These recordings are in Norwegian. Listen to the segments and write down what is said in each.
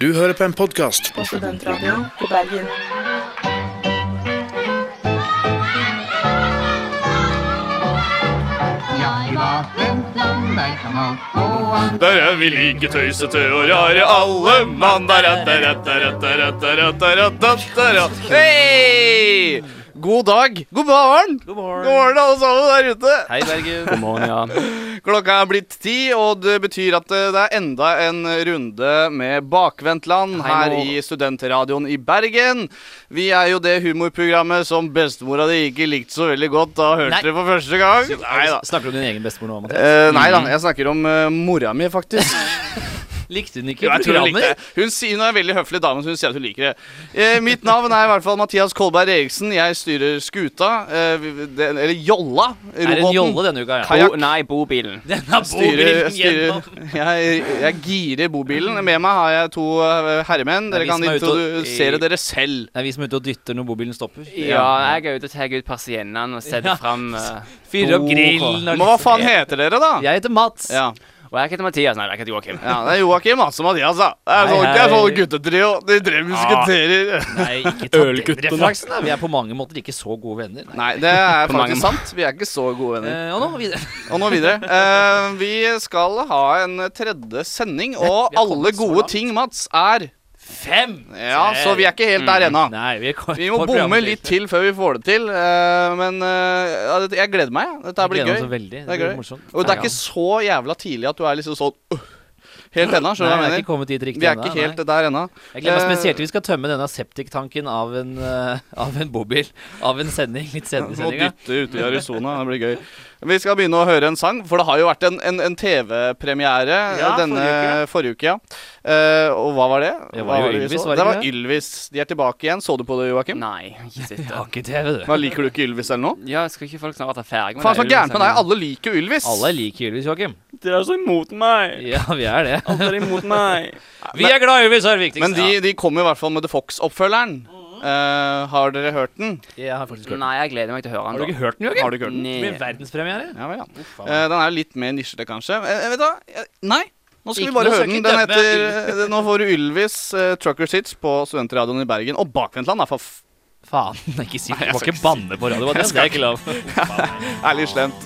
Du hører på en podkast på Studentradioen i Bergen. Jeg var ventland, der kan alt gå an. Der er vi like tøysete og rare alle mann. Der er- der er- der er- der er- der er- der er- der er- der er- Hei! God dag, god morgen, god morgen alle sammen der ute. Hei, Bergen. God morgen, ja. Klokka er blitt ti, og det betyr at eh, det er enda en runde med Bakvendtland Hei, her nå. i Studentradioen i Bergen. Vi er jo det humorprogrammet som bestemora di ikke likte så veldig godt da hun Nei. hørte det for første gang. Neida. Snakker du om din egen bestemor nå, Mathias? Eh, nei da, jeg snakker om eh, mora mi, faktisk. Likte hun ikke Jo, jeg tror hun likte programmet? det. Hun, sier, hun er en veldig høflig dame, så hun sier at hun liker det. Eh, mitt navn er i hvert fall Mathias Kolberg Eriksen. Jeg styrer skuta, eh, vi- det- eller jolla. Er det en robåten. jolle denne uka, ja? Kajakk. Nei, bobilen. Denne Styrer, bobilen styrer, gjennom jeg, jeg girer bobilen. Med meg har jeg to eh, herremenn. Det er Dere vi kan som er ute og- introdusere dere selv. Det er vi som er ute og dytter når bobilen stopper. Ja, jeg er ute og tar ut persiennene og setter Ja. frem eh, Fyrer opp Oh. grillen Men og liksom- hva faen heter dere, da? Jeg heter Mats. Ja. Og jeg heter Mathias. Nei, jeg heter Joakim. ja, Det er Joakim Mats og Mathias, da. Det er Hei, sånn, det er hei. Ah. sånn guttetrio. De drev musketerer. Nei, ikke ta den referansen. da. Vi er på mange måter ikke så gode venner. Nei. Nei, det er På mange faktisk sant. Vi er ikke så gode venner. Eh, og nå videre. Og nå videre. Eh, vi skal ha en tredje sending, og vi har kommet alle så gode langt. ting, Mats, er Fem! Ja, så vi er ikke helt der ennå. Nei, vi, kom, Vi må bomme litt til før vi får det til, eh, men eh, ja, det- jeg gleder meg. jeg. Dette her blir gleder meg så gøy. veldig. Det, Det er blir gøy. morsomt. Og det er Ja, ja. ikke sånn, så jævla tidlig at du er liksom sånn øh, helt ennå, Nei, skjønner du hva jeg er jeg mener? ikke kommet dit riktig Vi er ennå, ikke nei. helt der ennå. Jeg gleder meg Eh, spesielt til vi skal tømme denne septiktanken av en, eh, av en bobil. Av en sending. Litt senere i Å sendinga. dytte ute i Arizona, det blir gøy. Vi skal begynne å høre en sang, for det har jo vært en, en, en TV-premiere Ja, denne forrige uke. ja. Eh, og hva var det? Det var Hva jo vi Ylvis, så? var det det ikke var det? Ylvis. De er tilbake igjen. Så du på det, Joakim? Nei, ikke sitt. Ja, ikke TV, du. Hva, Liker du ikke Ylvis eller noe? Ja, skal ikke folk snart være ferdig med liksom? Faen, så det? gærent med deg. Alle liker jo Ylvis. Alle liker Ylvis, Joakim. Dere er så imot meg. Ja, vi er det. Alle er imot meg. Vi er glad i Ylvis, Mhm. er det viktigste. Men de, de kommer i hvert fall med The Fox-oppfølgeren. Eh, har dere hørt den? ja. Jeg har faktisk hørt den. Nei, jeg gleder meg til å høre Har du den. ikke hørt den, Joakim? Har du ikke hørt den? Det blir Nei. verdenspremiere. Ja vel, ja. Eh, den er jo litt mer nisjete, kanskje. Eh, vet du hva? Eh, Nei. Nå skal Ikke- vi bare nå høre skal jeg den. Den ikke dømme heter eh, Nå får du Ylvis eh, Trucker Sits på Studentradioen i Bergen. Og Bakvendtland er for f Faen, ikke si det. jeg Du må skal ikke banne på radio. Det er ikke lov. ærlig slemt.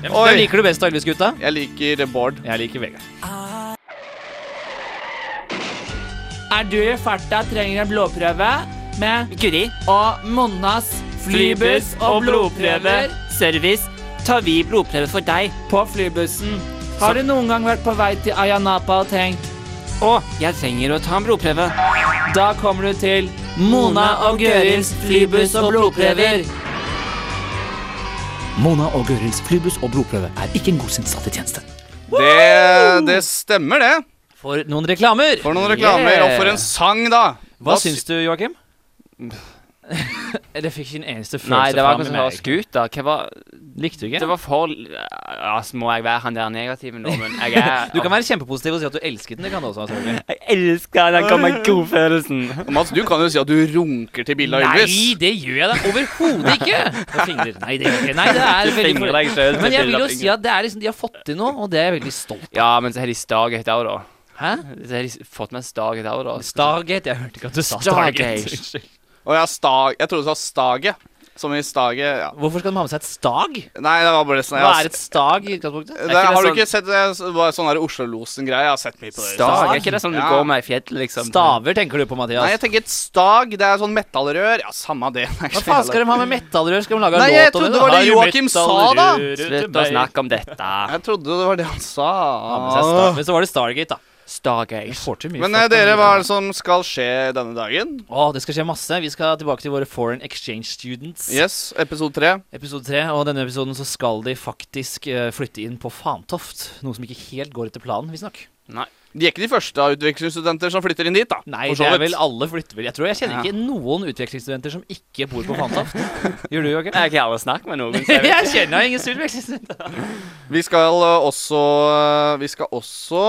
Hvem liker du best av Ylvis-gutta? Jeg liker Bård. Jeg liker Vegard. Er du i farta trenger en blodprøve med Guri og Monnas flybuss og blodprøver Service. Tar vi blodprøve for deg? på flybussen. Har du noen gang vært på vei til Ayanapa og tenkt Å, jeg trenger å ta en blodprøve. Da kommer du til Mona og Gørils flybuss og blodprøver. Mona og Gørils flybuss og blodprøve er ikke en godkjent tjeneste. Det, det stemmer, det. For noen reklamer. For noen reklamer, Yeah. og for en sang, da. Hva syns du, Joakim? det fikk ikke en eneste følelse Nei, det var akkurat fram i som å høre meg. scooter. Hva var Likte du Det ikke? var for Ja, så må jeg være han der negative nå, men jeg er Du kan være kjempepositiv og si at du elsket den. Det kan du også. Antagelig. Jeg elsker den gamle godfølelsen. Mats, du kan jo si at du runker til bildet av Ylvis. Nei, det gjør jeg da overhodet ikke! Med fingrer. Nei, det gjør jeg ikke. Nei, det er Du veldig fingrer deg selv til Men jeg bildet vil av jo si fingeren. at det er liksom, de har fått til noe, og det er jeg veldig stolt av. Ja, men så har de Stargate òg, da. Hæ? Så har de fått med Stargate òg, da. Stargate? Jeg hørte ikke at du sa Stargate. Stargate. Unnskyld. Og jeg, stag, jeg trodde du sa staget. Som i staget ja. Hvorfor skal de ha med seg et stag? Nei, det var bare sånn jeg Hva har- er et stag i utgangspunktet? det, ikke det Har du sånn- ikke sett det, det var sånn der Oslo-losen-greie? Jeg har sett mye på det. Stag, er ikke det sånn du Ja. går med i fjellet, liksom? Staver tenker du på, Mathias. Nei, jeg tenker et stag. Det er sånn metallrør. Ja, samme det. Hva faen skal de ha med metallrør? Skal de lage en Nei, låt jeg om trodde det? det var da? det Har du Joakim sa, da. metallrør til Slutt å meg? snakke om dette. Jeg trodde det var det han sa. Ha med seg stag. Men så var det Stargate, da. Vi Stargate. får til mye Men eh, flott, dere, men- hva er det som skal skje denne dagen? Å, det skal skje masse. Vi skal tilbake til våre Foreign Exchange Students. Yes, episode tre. Episode tre, og i denne episoden så skal de faktisk eh, flytte inn på Fantoft. Noe som ikke helt går etter planen, visstnok. De er ikke de første av utvekslingsstudenter som flytter inn dit, da. Nei, for det så er vidt. vel alle flytter vel Jeg tror jeg kjenner ikke noen utvekslingsstudenter som ikke bor på Fantoft. Gjør du, Joakim? Jeg kan aldri snakke med noen. så jeg vet- jeg kjenner ingen utvekslingsstudenter. Vi skal eh, også Vi skal også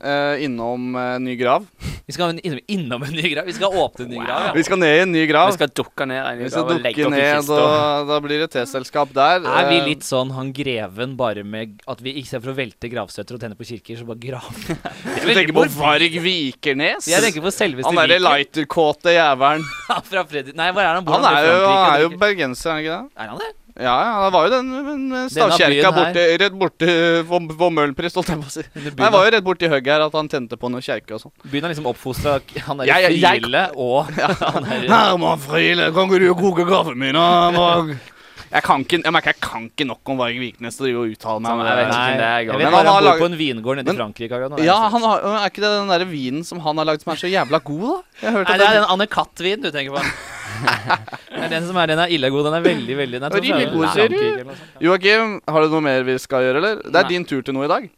eh, innom eh, ny grav. Vi skal ha en- innom, innom en ny grav. Vi skal åpne en ny grav. Vi skal ned i en ny grav. Vi skal dukke ned en Vi i skal dag og legge dukke opp i ned, kista. og da blir det teselskap der. Ja. Er vi Eh, litt sånn han greven, bare med at vi istedenfor å velte gravstøtter og tenne på kirker, så bare graver Eh, Du tenker på Varg Vikernes? Jeg tenker på selveste Han derre Viken. lighterkåte jævelen. fra Fredrik Nei, hvor er han? Bor Han i er jo, Frankrike? han er jo Jeg vet ikke. bergenser, er han ikke det? Er han det? Ja, ja, det var jo den, den stavkjerka byen her. borte, rett borte vom- Vommølenpris, holdt jeg på å si. Denne Nei, byen det var jo rett borti hugget her at han tente på noe kjerke og sånn. Byen er liksom oppfostra Han er Jeg- i jeg- jeg- frile og han er, Herman Friele, kan ikke du koke kaffen min? Jeg kan ikke, jeg merker jeg kan ikke nok om Varg Viknes til å drive og uttale meg. om Sånn, det. jeg vet Nei, ikke hvem det er. jeg Gavan. vet Men bare han han har bor lag- på en vingård nede Men- i Frankrike akkurat nå. Ja, han har, er ikke det den der vinen som han har lagd som er så jævla god, da? Jeg hørte Nei, at det er den Anne Katt-vinen du tenker på. det er den som er, den er ille god. Den er veldig, veldig Den er, sånn- Rimelig fra- god, fra sier du? Frankrike eller noe sånt. Joakim, har du noe mer vi skal gjøre, eller? Det er Nei. din tur til noe i dag.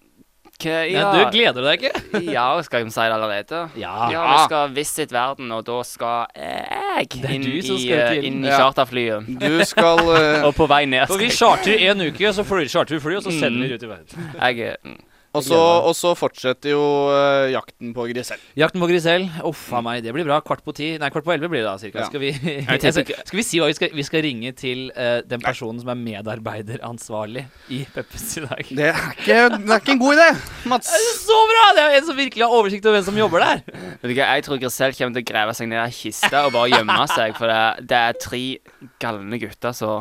Ok, Ja, du gleder du deg ikke? Ja, skal vi si det allerede? Ja. Ja, vi skal visit verden, og da skal jeg er inn du i, som skal til. eh, inn i Ja. charterflyet. Du skal eh, Og på vei ned For skal vi jeg charter en uke, og så fly, charter vi fly, og så sender vi det ut i verden. jeg, mm. Og så, og så fortsetter jo eh, jakten på Grisell. Jakten på Grisell. Uff a meg, det blir bra. Kvart på ti Nei, kvart på elleve blir det da, cirka. Ja. Skal, vi, tipper skal, skal vi si hva vi skal Vi skal ringe til eh, den personen som er medarbeideransvarlig i Peppes i dag. Det er ikke, det er ikke en god idé, Mats. Det er så bra! Det er en som virkelig har oversikt over hvem som jobber der. Vet du hva, jeg tror Grisel kommer til å grave seg ned i kista og bare gjemme seg, for det, det er tre galne gutter, så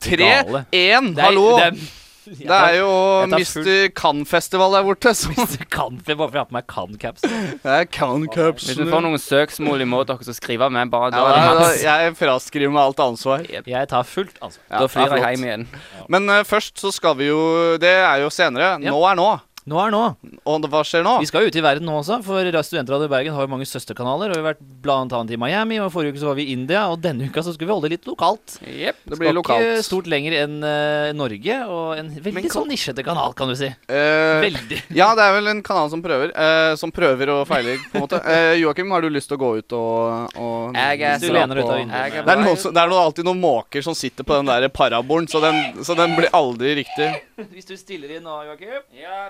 Tre, Gale. én, Det er, hallo. Det er, Det er jo Jeg tar full- Mr. Cannes-festival der borte. Som jeg kan, jeg bare får ha på meg Cancaps. det er Cannes-cups. Hvis vi får noen søksmål imot dere som skriver med, Ja, bare da er det da- hans. jeg fraskriver meg alt ansvar. Jeg tar fullt altså. ansvar. Ja, Da flyr det er jeg flott. hjem igjen. Men eh, først så skal vi jo Det er jo senere. Ja. Nå er nå. Nå er nå. Og hva skjer nå? Vi skal jo ut i verden nå også, for Studentradioet i Bergen har jo mange søsterkanaler. Og vi har vært blant annet i Miami, og forrige uke så var vi i India, og denne uka så skulle vi holde det litt lokalt. Jepp. Det blir Skal Ikke lokalt. stort lenger enn eh, Norge, og en veldig sånn nisjete kanal, kan du si. Eh, Veldig. ja, det er vel en kanal som prøver. eh, som prøver og feiler, på en måte. Eh, Joakim, har du lyst til å gå ut og, og Jeg er Du så lener på- ut av vinduet. jeg er Det er, på noe, vei. som- det er noe, alltid noen måker som sitter på den der parabolen, så den, så den blir aldri riktig. Hvis du stiller inn nå, Joakim. Ja.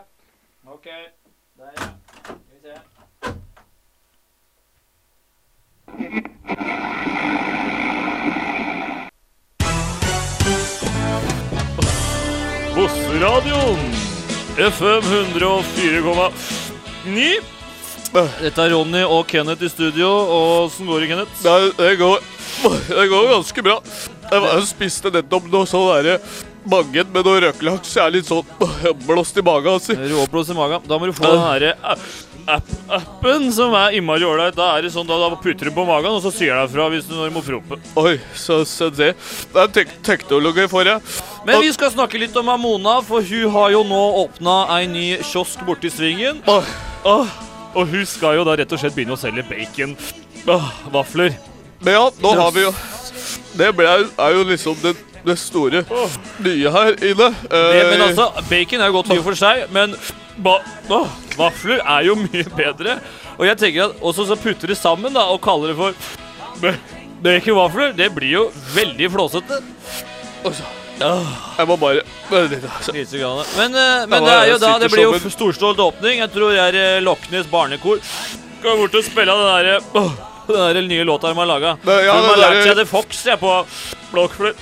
Ok. Der, ja. Skal vi se. Bosseradioen. FM 104,9. Dette er Ronny og Kenneth i studio, og åssen går det, Kenneth? Nei, det går, det går ganske bra. Jeg var- jeg spiste nettopp noe sånn derre bagett med noe røkelaks. Jeg er litt sånn blåst i magen, altså. Råblås i magen. Da må du få den her herre appen som er innmari ålreit, da er det sånn da, da putter du på magen, og så sier den fra hvis du når du må prompe. Oi, så, så det Det er tek teknologi for deg. Men vi skal snakke litt om Amona, for hun har jo nå åpna ei ny kiosk borti Svingen. Åh, åh, og hun skal jo da rett og slett begynne å selge bacon. Åh, vafler. Men ja, nå har vi jo Det er jo liksom det, store nye her inne. Eh, Det, men altså, Bacon er jo godt i og for seg, men ba, åh, vafler er jo mye bedre. Og jeg tenker at også så putter det sammen da, og kaller det for ba- baconvafler. Det blir jo veldig flåsete. Jeg må bare Lite grann. Men, eh, men det er jo da, det blir jo storstålt åpning. Jeg tror det er eh, Lochnes barnekor. Skal bort og spille den derre den der nye låta de har laga. Ja, De har den lært seg der- The Fox jeg, på blokkfløyte.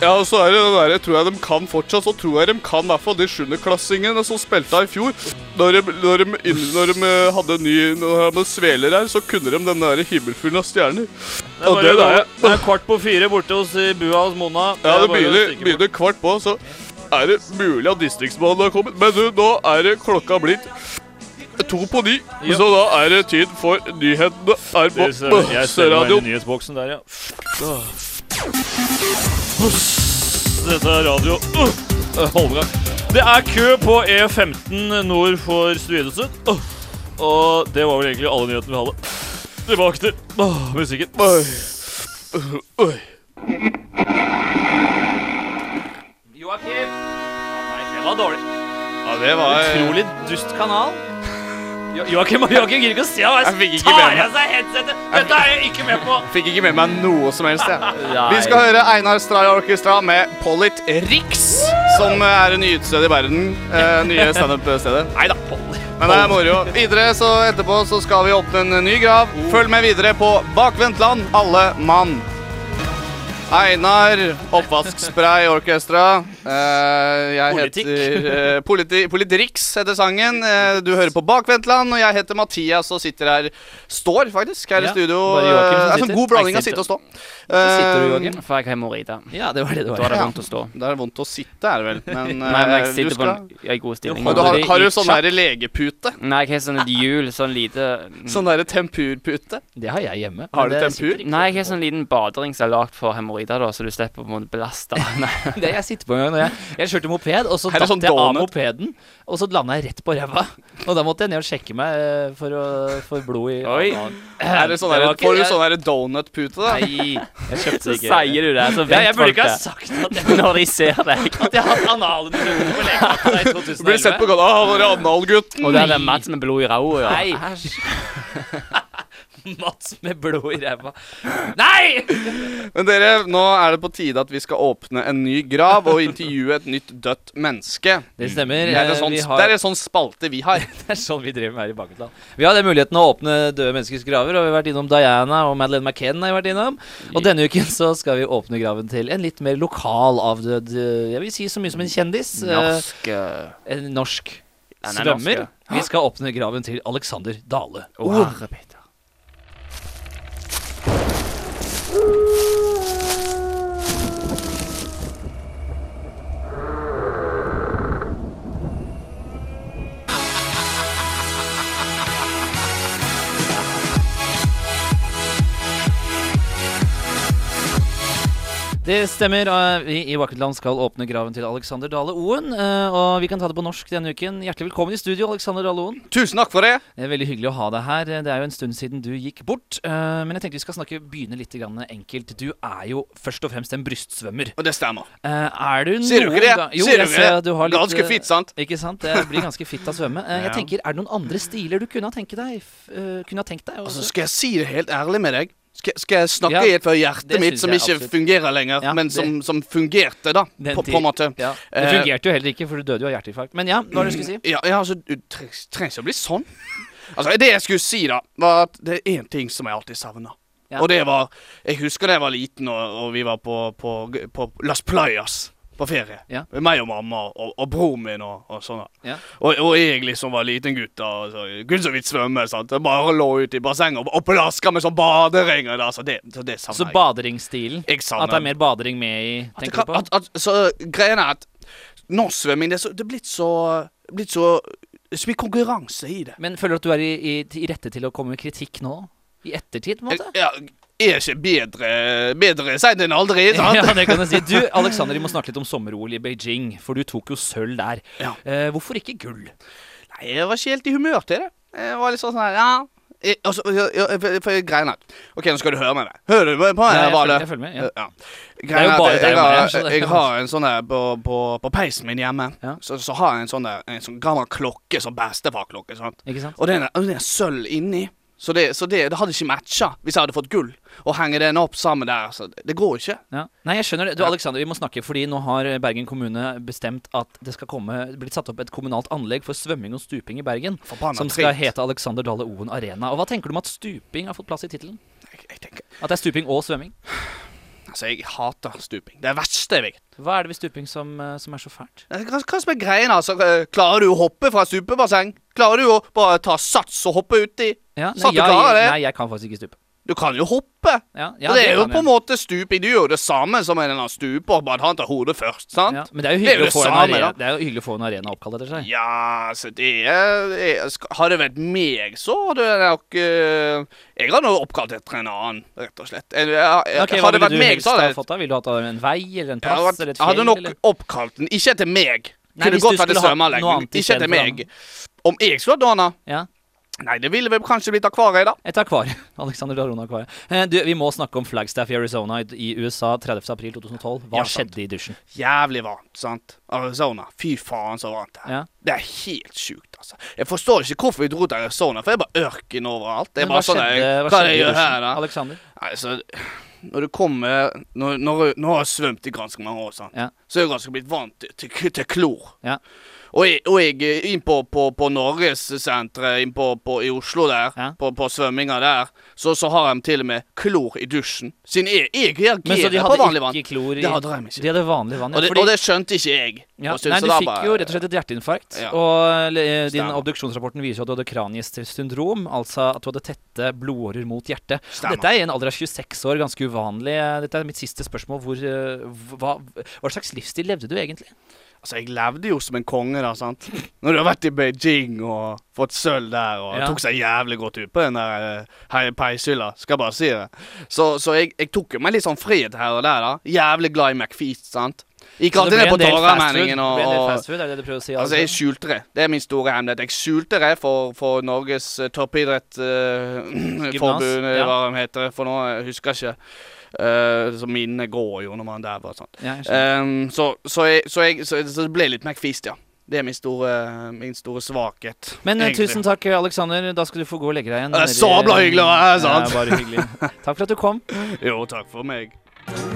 Ja, og så er det den der, tror jeg de kan fortsatt, og tror jeg de kan i hvert fall de sjuendeklassingene som spilte her i fjor. Når de, når de, inn- når de eh, hadde ny når de hadde sveler her, så kunne de den der himmelfuglen av stjerner. Det er Og bare det å gå- der, det er kvart på fire borte hos eh, bua hos Mona. ja, er bare det å begynner, stikke bort. begynner kvart på, så er det mulig at distriktsmannen har kommet. Men du, nå er det klokka blitt to på ni, Ja. så da er det tid for nyhetene her på Bøsseradio. nyhetsboksen der, ja. Dette er radio uh, uh, Holmgang. Det er kø på E15 nord for Svinesund. Uh, og det var vel egentlig alle nyhetene vi hadde. Tilbake til uh, musikken. Joakim! Nei, det var dårlig. Ja, det var eh, Utrolig dust kanal. Jo Joakim Joakim gidder ikke å se meg. Jeg fikk ikke med Tar meg- av seg headsetet! Dette er jeg ikke med på! Fikk ikke med meg noe som helst, jeg. Nei. Vi skal høre Einar Stray Orchestra med Pollit Rix, som eh, er det nye utestedet i verden. Eh, nye standup-stedet. Nei da, Polly. Men det er moro. Videre så etterpå så skal vi åpne en ny grav. Følg med videre på Bakvendt land, alle mann. Einar, oppvaskspray, orkestra. Eh, jeg Politikk. heter eh, politi, Politrix heter sangen. Eh, du hører på Bakvendt land, og jeg heter Mathias og sitter her Står, faktisk, her Ja, i studio. bare Joakim som Eh, det er sitter. sånn god blanding Jeg av sitte og stå. sitter du, Eh, Joakim? For jeg har hemoroider. Ja, det var det det Da er var. det Ja. vondt å stå. Det er vondt å sitte, er det vel. Men, Nei, men jeg eh, du sitter på skal- en jeg er i god stilling. Jo, Men du har, Holder det har i du sånn sjakk. der legepute? Nei, jeg har sånn et hjul, sånn lite Mm. Sånn der tempurpute? Det har jeg hjemme. Har men du det tempur? sitter ikke- Nei, jeg har sånn liten badering som er lagd for hemoroider, da, så du slipper å måtte belaste. Nei. Det jeg sitter på en gang når jeg, jeg kjørte moped, og så Er det datt sånn jeg av donut? mopeden. Og så landa jeg rett på ræva. Og da måtte jeg ned og sjekke meg eh, for, å, for blod i Oi. Er det sånn der, var ikke- får du sånn der donutpute, da? Nei, jeg kjøpte Så det ikke. sier du det, så ja, vet jeg burde folk ikke ha det. sagt at jeg, Når de ser deg. at jeg har hatt analundersøkelse på legevakta i Du blir sett på 2011. gata Å, der er analgutten! Og det er Mats med Sånn blod i ræva. Ja. Nei, Mats med blod i ræva. Nei! Men dere, nå er det på tide at vi skal åpne en ny grav og intervjue et nytt dødt menneske. Det stemmer. Det er en eh, sånn, vi har- det er en sånn spalte vi har. Det er sånn vi driver med her i Baketland. Vi hadde muligheten å åpne døde menneskers graver, og vi har vært innom Diana og Madeleine McKenn. har vi vært innom Og denne uken så skal vi åpne graven til en litt mer lokal avdød eh, Jeg vil si så mye som en kjendis. eh, Norsk eh, En norsk Han er norsk, svømmer. ja. Vi skal åpne graven til Alexander Dale. Å, herre Peter. Det stemmer. eh, Vi i Baketland skal åpne graven til Alexander Dale Oen. eh, Og vi kan ta det på norsk denne uken. Hjertelig velkommen i studio, Alexander Dale Oen. Tusen takk for det. Det er veldig hyggelig å ha deg her. Det er jo en stund siden du gikk bort. eh, Men jeg tenkte vi skal snakke, begynne litt grann enkelt. Du er jo først og fremst en brystsvømmer. Og det stemmer. Eh, Er du noen Sier du ikke det? gang- Jo, Sier du jeg ser ikke at du det? har litt Ganske eh, fint, sant? Ikke sant? Det blir ganske fitt av svømme. Eh, Ja. Jeg tenker, Er det noen andre stiler du kunne ha tenkt deg? f- eh, Kunne ha tenkt deg? Altså, også? skal jeg si det helt ærlig med deg? Skal, skal jeg snakke Ja, helt fra hjertet det mitt, synes som jeg ikke absolutt. fungerer lenger, Ja, men det- som, som fungerte, da, Den på, tid. på en måte? Ja. Det Eh, fungerte jo heller ikke, for du døde jo av hjerteinfarkt. Men ja, hva er det du skulle si? Ja, ja altså, du tre- trenger ikke å bli sånn. Altså, Det jeg skulle si, da, var at det er én ting som jeg alltid savna. Ja. Og det var Jeg husker da jeg var liten og, og vi var på, på, på Las Playas på ferie. Ja. Med meg og mamma og, og broren min og, og sånn. da. Ja. Og, og jeg liksom var liten gutt da, og så, gud så vidt svømme. sant? Jeg bare lå ute i bassenget og, og plaska med sånn baderinger. da, Så det, så det Så savner jeg. baderingstilen. Jeg savner At det er mer badering med i at, Tenker du på? at, at, så greien er at norsk svømming, det er, så, det er blitt så blitt så, så mye konkurranse i det. Men føler du at du er i, i, i rette til å komme med kritikk nå? I ettertid, på en måte? Ja, er ikke bedre Bedre seint enn aldri, sant? Ja, det kan jeg si. Du, Alexander, vi må snakke litt om sommer-OL i Beijing, for du tok jo sølv der. Ja. Eh, hvorfor ikke gull? Nei, jeg var ikke helt i humør til det. Jeg var litt sånn sånn her, ja Jeg- og så- ja, ja, for- for greien er at OK, nå skal du høre med meg. Hører du på meg, Vale? jeg, følger, jeg følger med. Ja. Ja. Greien jo er at bare jeg, deg og har- meg, så det- jeg har en sånn der på, på, på peisen min hjemme. Ja. Så, så har jeg en sånn der En sånn gammel klokke, sånn bestefarklokke. sant? Ikke sant? Og den er, den er sølv inni. Så, det, så det, det hadde ikke matcha hvis jeg hadde fått gull. Å henge den opp sammen der, så det, det går ikke. Ja. Nei, jeg skjønner det. Du, Alexander, vi må snakke, fordi nå har Bergen kommune bestemt at det skal komme blitt satt opp et kommunalt anlegg for svømming og stuping i Bergen. Forbanna Som skal trist. hete Alexander Dale Oen Arena. Og hva tenker du om at stuping har fått plass i tittelen? Jeg, jeg tenker, At det er stuping og svømming? altså, jeg hater stuping. Det er det verste jeg vet. Hva er det ved stuping som, eh, som er så fælt? Hva, hva som er greien, altså? Eh, Klarer du å hoppe fra stupebasseng? Klarer du å bare ta sats og hoppe uti? Ja, nei, Så at du jeg, klarer det? Nei, jeg kan faktisk ikke stupe. Du kan jo hoppe! Ja, ja, og det er jo kan på jeg. en måte stuping. Du gjør jo det samme som en eller annen stuper, bare at han tar hodet først, sant? ja, Ja. Men det Det er er jo jo hyggelig, det å, få en samme, arena, da. det er jo hyggelig å få en arena oppkalt etter seg. så altså, det er, er sk- Hadde det vært meg, så hadde det nok eh, Jeg hadde nok oppkalt etter en annen, rett og slett. Jeg, jeg, jeg, Ok, hva hadde det ville vært du meg, helst så hadde ha jeg fått da? Ville du hatt en vei eller en Jeg plass hadde, eller vært, et fjell? hadde nok eller? oppkalt den. Ikke etter meg. Nei, Kunne hvis du godt vært et skulle hatt noe svømmeanlegg. annet men Ikke etter istedenfor meg. Om jeg skulle hatt donna? Ja. Nei, det ville vel kanskje blitt akvariet, da. Et akvarium. Alexander Darona akvarium. Eh, du, vi må snakke om Flagstaff i Arizona i- i USA 30.4.2012. Hva Ja, sant. skjedde i dusjen? Jævlig varmt, sant. Arizona. Fy faen så varmt det er. Ja. Det er helt sjukt, altså. Jeg forstår ikke hvorfor vi dro til Arizona, for det er bare ørken overalt. Det er Men bare hva sånn skjedde, jeg- Hva er hva skjedde det i jeg gjør dusjen? her, da? Alexander? Nei, så Når du kommer Når, når, når jeg har svømt i ganske mange år, sant? Ja. så er jeg ganske blitt vant til, til, til klor. Ja. Og jeg, og jeg eh, innpå på, på Norgessenteret innpå på, i Oslo der, Ja. på, på svømminga der, så, så har de til og med klor i dusjen. Siden jeg, jeg Men så de reagerer på hadde vanlig vann. ikke klor i Det hadde de ikke. De hadde vanlig vann. ja, Og det, fordi- og det skjønte ikke jeg. Ja, Og syntes nei, det du da fikk bare- jo rett og slett et hjerteinfarkt. Ja. Og eh, din Stemmer. obduksjonsrapporten viser jo at du hadde kraniest syndrom, altså at du hadde tette blodårer mot hjertet. Stemmer. Dette er i en alder av 26 år ganske uvanlig. Dette er mitt siste spørsmål. Hvor, eh, hva, hva slags livsstil levde du egentlig? Altså, jeg levde jo som en konge, da, sant. Når du har vært i Beijing og fått sølv der og Ja. tok seg jævlig godt ut på den der eh, hei- peishylla, skal jeg bare si det. Så, så jeg, jeg tok jo meg litt sånn frihet her og der, da. Jævlig glad i McFeast, sant. Gikk Så Altså, det alltid ble ned på en del fast food. Torgallmenningen Det ble en og, del og fast food, er det det du prøver å si? Altså, jeg altså? skjulte det. Det er min store hemmelighet. Jeg skjulte det for, for Norges eh, toppidrettforbund, Gymnas, uh, forbund, eh, ja. hva de heter for noe, jeg husker ikke. Eh, så minnene går jo når man dauer og sånn. Ja, jeg skjønner. Ehm, så, så, jeg, så, jeg, så, så det ble litt McFeast, ja. Det er min store, min store svakhet. Men eh, tusen takk, Aleksander. Da skal du få gå og legge deg igjen. Det er nedi- sabla Eh, hyggelig å være her, sant? Ja, bare hyggelig. Takk for at du kom. takk. Jo, takk for meg.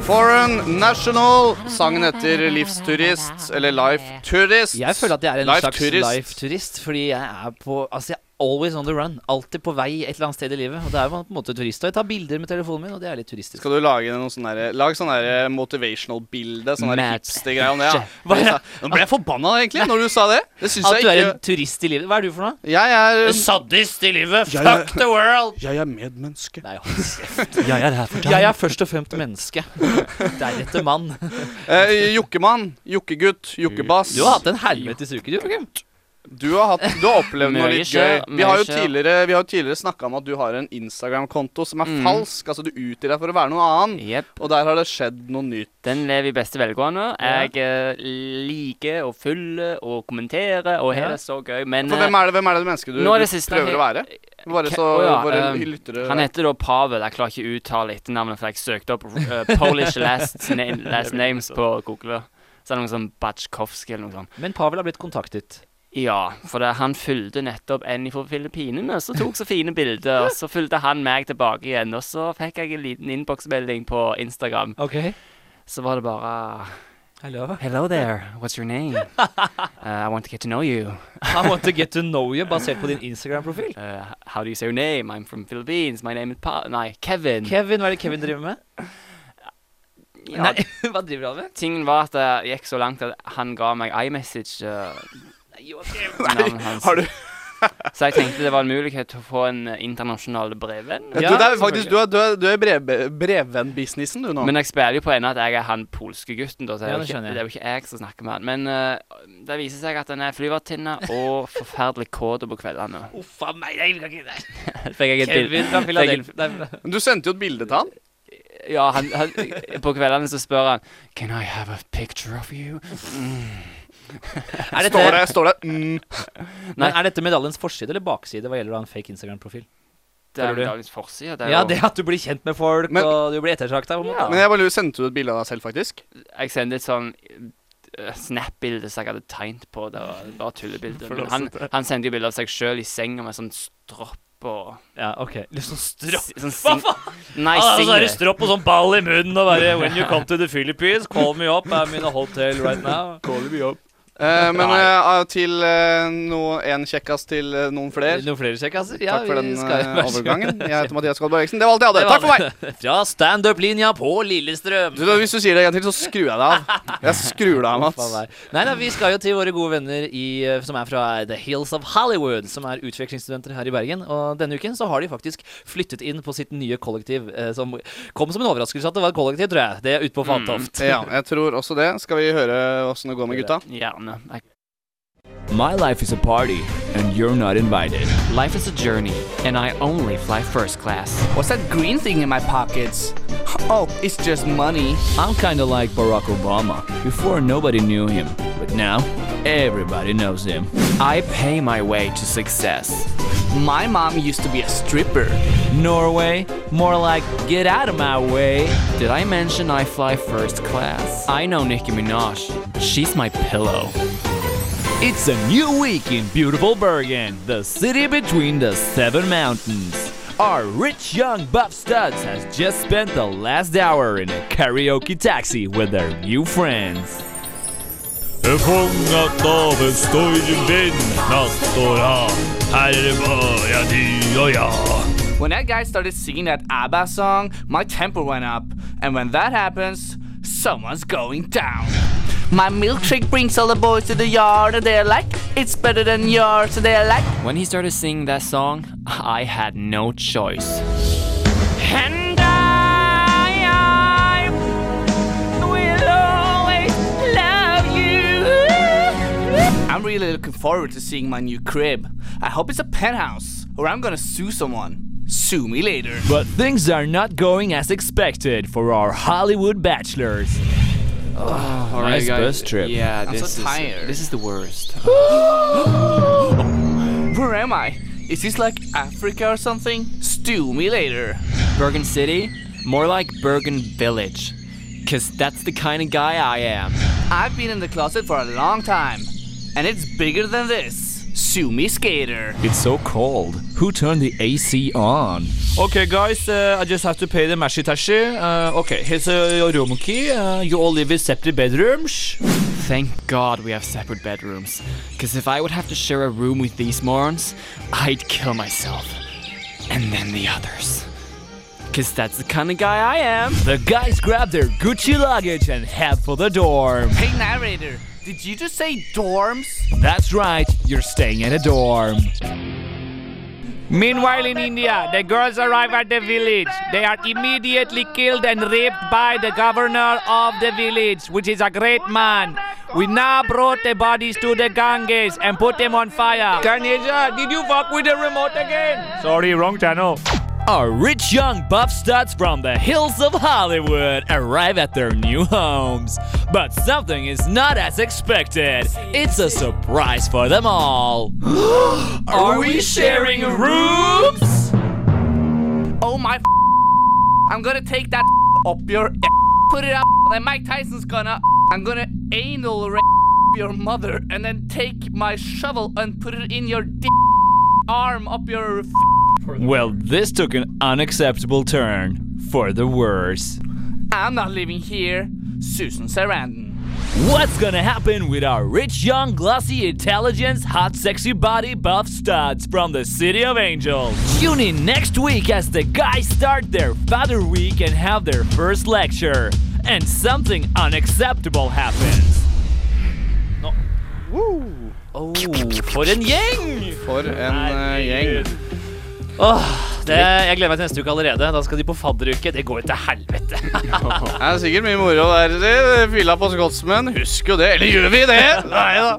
Foreign National. Sangen heter Livsturist, eller Life Turist. Jeg føler at jeg er en Life slags turist. life-turist, fordi jeg er på Altså, jeg er always on the run. Alltid på vei et eller annet sted i livet. Og det er jo på en måte turist. Og jeg tar bilder med telefonen min, og det er litt turistisk. Skal du lage noen sånne der, lag sånn der motivational-bilde? Sånn der Mad hipster-greie om det? ja Hva er det? Nå ble jeg forbanna, egentlig, når du sa det. Det syns At jeg du er ikke. en turist i livet. Hva er du for noe? Jeg er Saddist i livet. Jeg er- Fuck the world. Jeg er medmenneske. Nei, hold kjeft. Jeg er her for Jeg er først og fremst menneske. Deretter mann. Eh, Jokkemann. Jokkegutt. Jokkebass. Du har hatt en helvetes uke, du. Joakim. Du har, hatt, du har opplevd noe Mye litt gøy. skjer, Vi har jo mye skjer. tidligere, vi har jo tidligere snakka om at du har en Instagram-konto som er Mm. falsk. Altså du utgir deg for å være noe annen, Jepp. og der har det skjedd noe nytt. Den lever i beste velgående. Jeg eh, liker og følger og kommenterer, og her Ja. er det så gøy. Men For eh, hvem er det, hvem er det mennesket du, nå er du det siste prøver å være? Bare Ke- så å ja, våre eh, lyttere han heter da Pavel. Jeg klarer ikke å uttale etternavnet, for jeg søkte opp eh, Polish last, na last names på Google. Så er det noe sånn Batsjkovskij eller noe sånt. Men Pavel har blitt kontaktet. Ja, for det, han fulgte nettopp en fra Filippinene, så tok så fine bilder. Og så fulgte han meg tilbake igjen, og så fikk jeg en liten innboksmelding på Instagram. OK. Så var det bare Hello. Hello there, what's your name? Uh, I want to get to know you. I want to get to know you basert på din Instagram-profil. Uh, how do you say your name? I'm from Philippines. My name is pa Nei, Kevin. Kevin, hva er det Kevin driver med? ja, Nei, hva driver han med? Tingen var at det gikk så langt at han ga meg iMessage. Uh, navnet hans. har du- så jeg tenkte det var en mulighet til å få en eh, internasjonal brevvenn. du, Ja, det er faktisk, selvfølgelig. du er, du er, du er brev, brevvennbusinessen, du nå. Men jeg spiller jo på ennå at jeg er han polske gutten, da, så det er, Ja, det jo ikke, skjønner jeg. det er jo ikke jeg som snakker med han. Men eh, det viser seg at han er flyvertinne og forferdelig kåt på kveldene. Uff a meg, jeg liker ikke det. Fikk jeg et bild- Kevin fikk fra jeg- Philadelphia. du sendte jo et bilde til han. Ja, han, han, på kveldene så spør han Can I have a picture of you? Er dette, Står det, står det mm. men er dette medaljens forside eller bakside hva gjelder da en fake Instagram-profil? Det er Føler du? jo dagens forside. Det er Ja, jo- det at du blir kjent med folk, Men- og du blir ettertrakta. på en måte. Men jeg bare lurer, sendte du et bilde av deg selv, faktisk? Jeg sendte et sånn eh, Snap-bilde som jeg hadde tegnet på. Det var bare tullebilder. Men han, han sendte jo bilde av seg sjøl i senga med sånn stropp og Ja, ok. Litt sånn stropp. si- sånn sing, Nei, altså, Ah, så er det singlet. stropp og sånn ball i munnen og bare When you come to the Philippines, call me up. I'm in a hotel right now. Eh, men eh, til eh, noe- en kjekkas til eh, noen flere. Noen flere kjekkaser? Ja, Takk for vi den skal- eh, vær så god. overgangen. Jeg heter Mathias Goldberg Eriksen. Det var alt jeg hadde. Takk for meg! Fra standup-linja på Lillestrøm. Du, hvis du sier det en gang til, så skrur jeg deg av. Jeg skrur deg av, Faen Mats. meg. Nei da, vi skal jo til våre gode venner i, eh, som er fra The Hills of Hollywood, som er utvekslingsstudenter her i Bergen. Og denne uken så har de faktisk flyttet inn på sitt nye kollektiv, eh, som kom som en overraskelse at det var et kollektiv, tror jeg. Det er ute på Fantoft. Mm, Ja, jeg tror også det. Skal vi høre åssen det går med gutta? Gjerne. Jeg- My life is a party, and you're not invited. Life is a journey, and I only fly first class. What's that green thing in my pockets? Oh, it's just money. I'm kinda like Barack Obama. Before, nobody knew him, but now, everybody knows him. I pay my way to success. My mom used to be a stripper. Norway? More like, get out of my way. Did I mention I fly first class? I know Nicki Minaj. She's my pillow. It's a new week in beautiful Bergen, the city between the seven mountains. Our rich young buff studs has just spent the last hour in a karaoke taxi with their new friends. Fångat av en stormvind natt og dag. Herva jeg du og jeg. When that guy started singing that ABBA song, my temper went up. And when that happens, someone's going down. My milkshake brings all the boys to the yard, and they're like, it's better than yours, and they're like, When he started singing that song, I had no choice. And I, I will always love you. I'm really looking forward to seeing my new crib. I hope it's a penthouse, or I'm gonna sue someone. Sue me later. But things are not going as expected for our Hollywood bachelors. Oh, Nice bus trip. Yeah, I'm so tired. is the worst. Where am I? Is this like Africa or something? Stew me later. Bergen City? More like Bergen Village. Cause that's the kind of guy I am. I've been in the closet for a long time, and it's bigger than this. Sue me, skater. It's so cold. Who turned the AC on? Okay, guys, uh, I just have to pay the mashi tashi. Uh, okay, here's uh, your room key. Uh, you all live in separate bedrooms. Thank God we have separate bedrooms. Cause if I would have to share a room with these morons, I'd kill myself. And then the others. Cause that's the kind of guy I am. The guys grabbed their Gucci luggage and head for the dorm. Hey, narrator, did you just say dorms? That's right, you're staying in a dorm. Meanwhile, in India, the girls arrive at the village. They are immediately killed and raped by the governor of the village, which is a great man. We now brought the bodies to the Ganges and put them on fire. Ganesha, did you fuck with the remote again? Sorry, wrong channel. Our rich young buff studs from the hills of Hollywood arrive at their new homes. But something is not as expected. It's a surprise for them all. Are we sharing rooms? Oh my! f- I'm gonna take that up your, a- put it up, and Mike Tyson's gonna. I'm gonna anal rape your mother, and then take my shovel and put it in your d- arm up your. F- Well, this took an unacceptable turn for the worse. I'm not living here, Susan Sarandon. What's gonna happen with our rich, young, glossy, intelligence, hot, sexy body buff studs from the City of Angels? Tune in next week as the guys start their Father Week and have their first lecture. And something unacceptable happens. For en gjeng! For en eh, gjeng. Det, jeg gleder meg til neste uke allerede. Da skal de på fadderuke. Det går jo til helvete. Det er sikkert mye moro der. dere. Fylla på skotsmenn. Husk jo det. Eller gjør vi det? Nei da.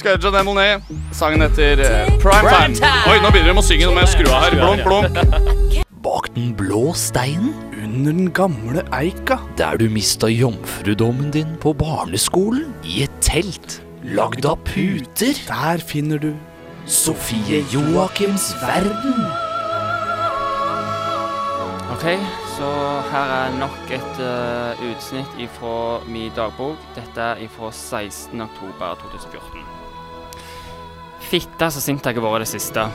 Scarja Demonet. Sangen heter eh, Prime Time. Oi, nå begynner de å synge. Nå må jeg skru av her. Blunk, blunk. Bak den blå steinen, Under den gamle eika. der du mista jomfrudommen din på barneskolen, i et telt lagd av puter. Der finner du Sofie Joakims verden. Ok, så her er nok et eh, utsnitt ifra min dagbok. Dette er ifra 16. oktober 2014. Fitta så sint jeg har vært i det siste.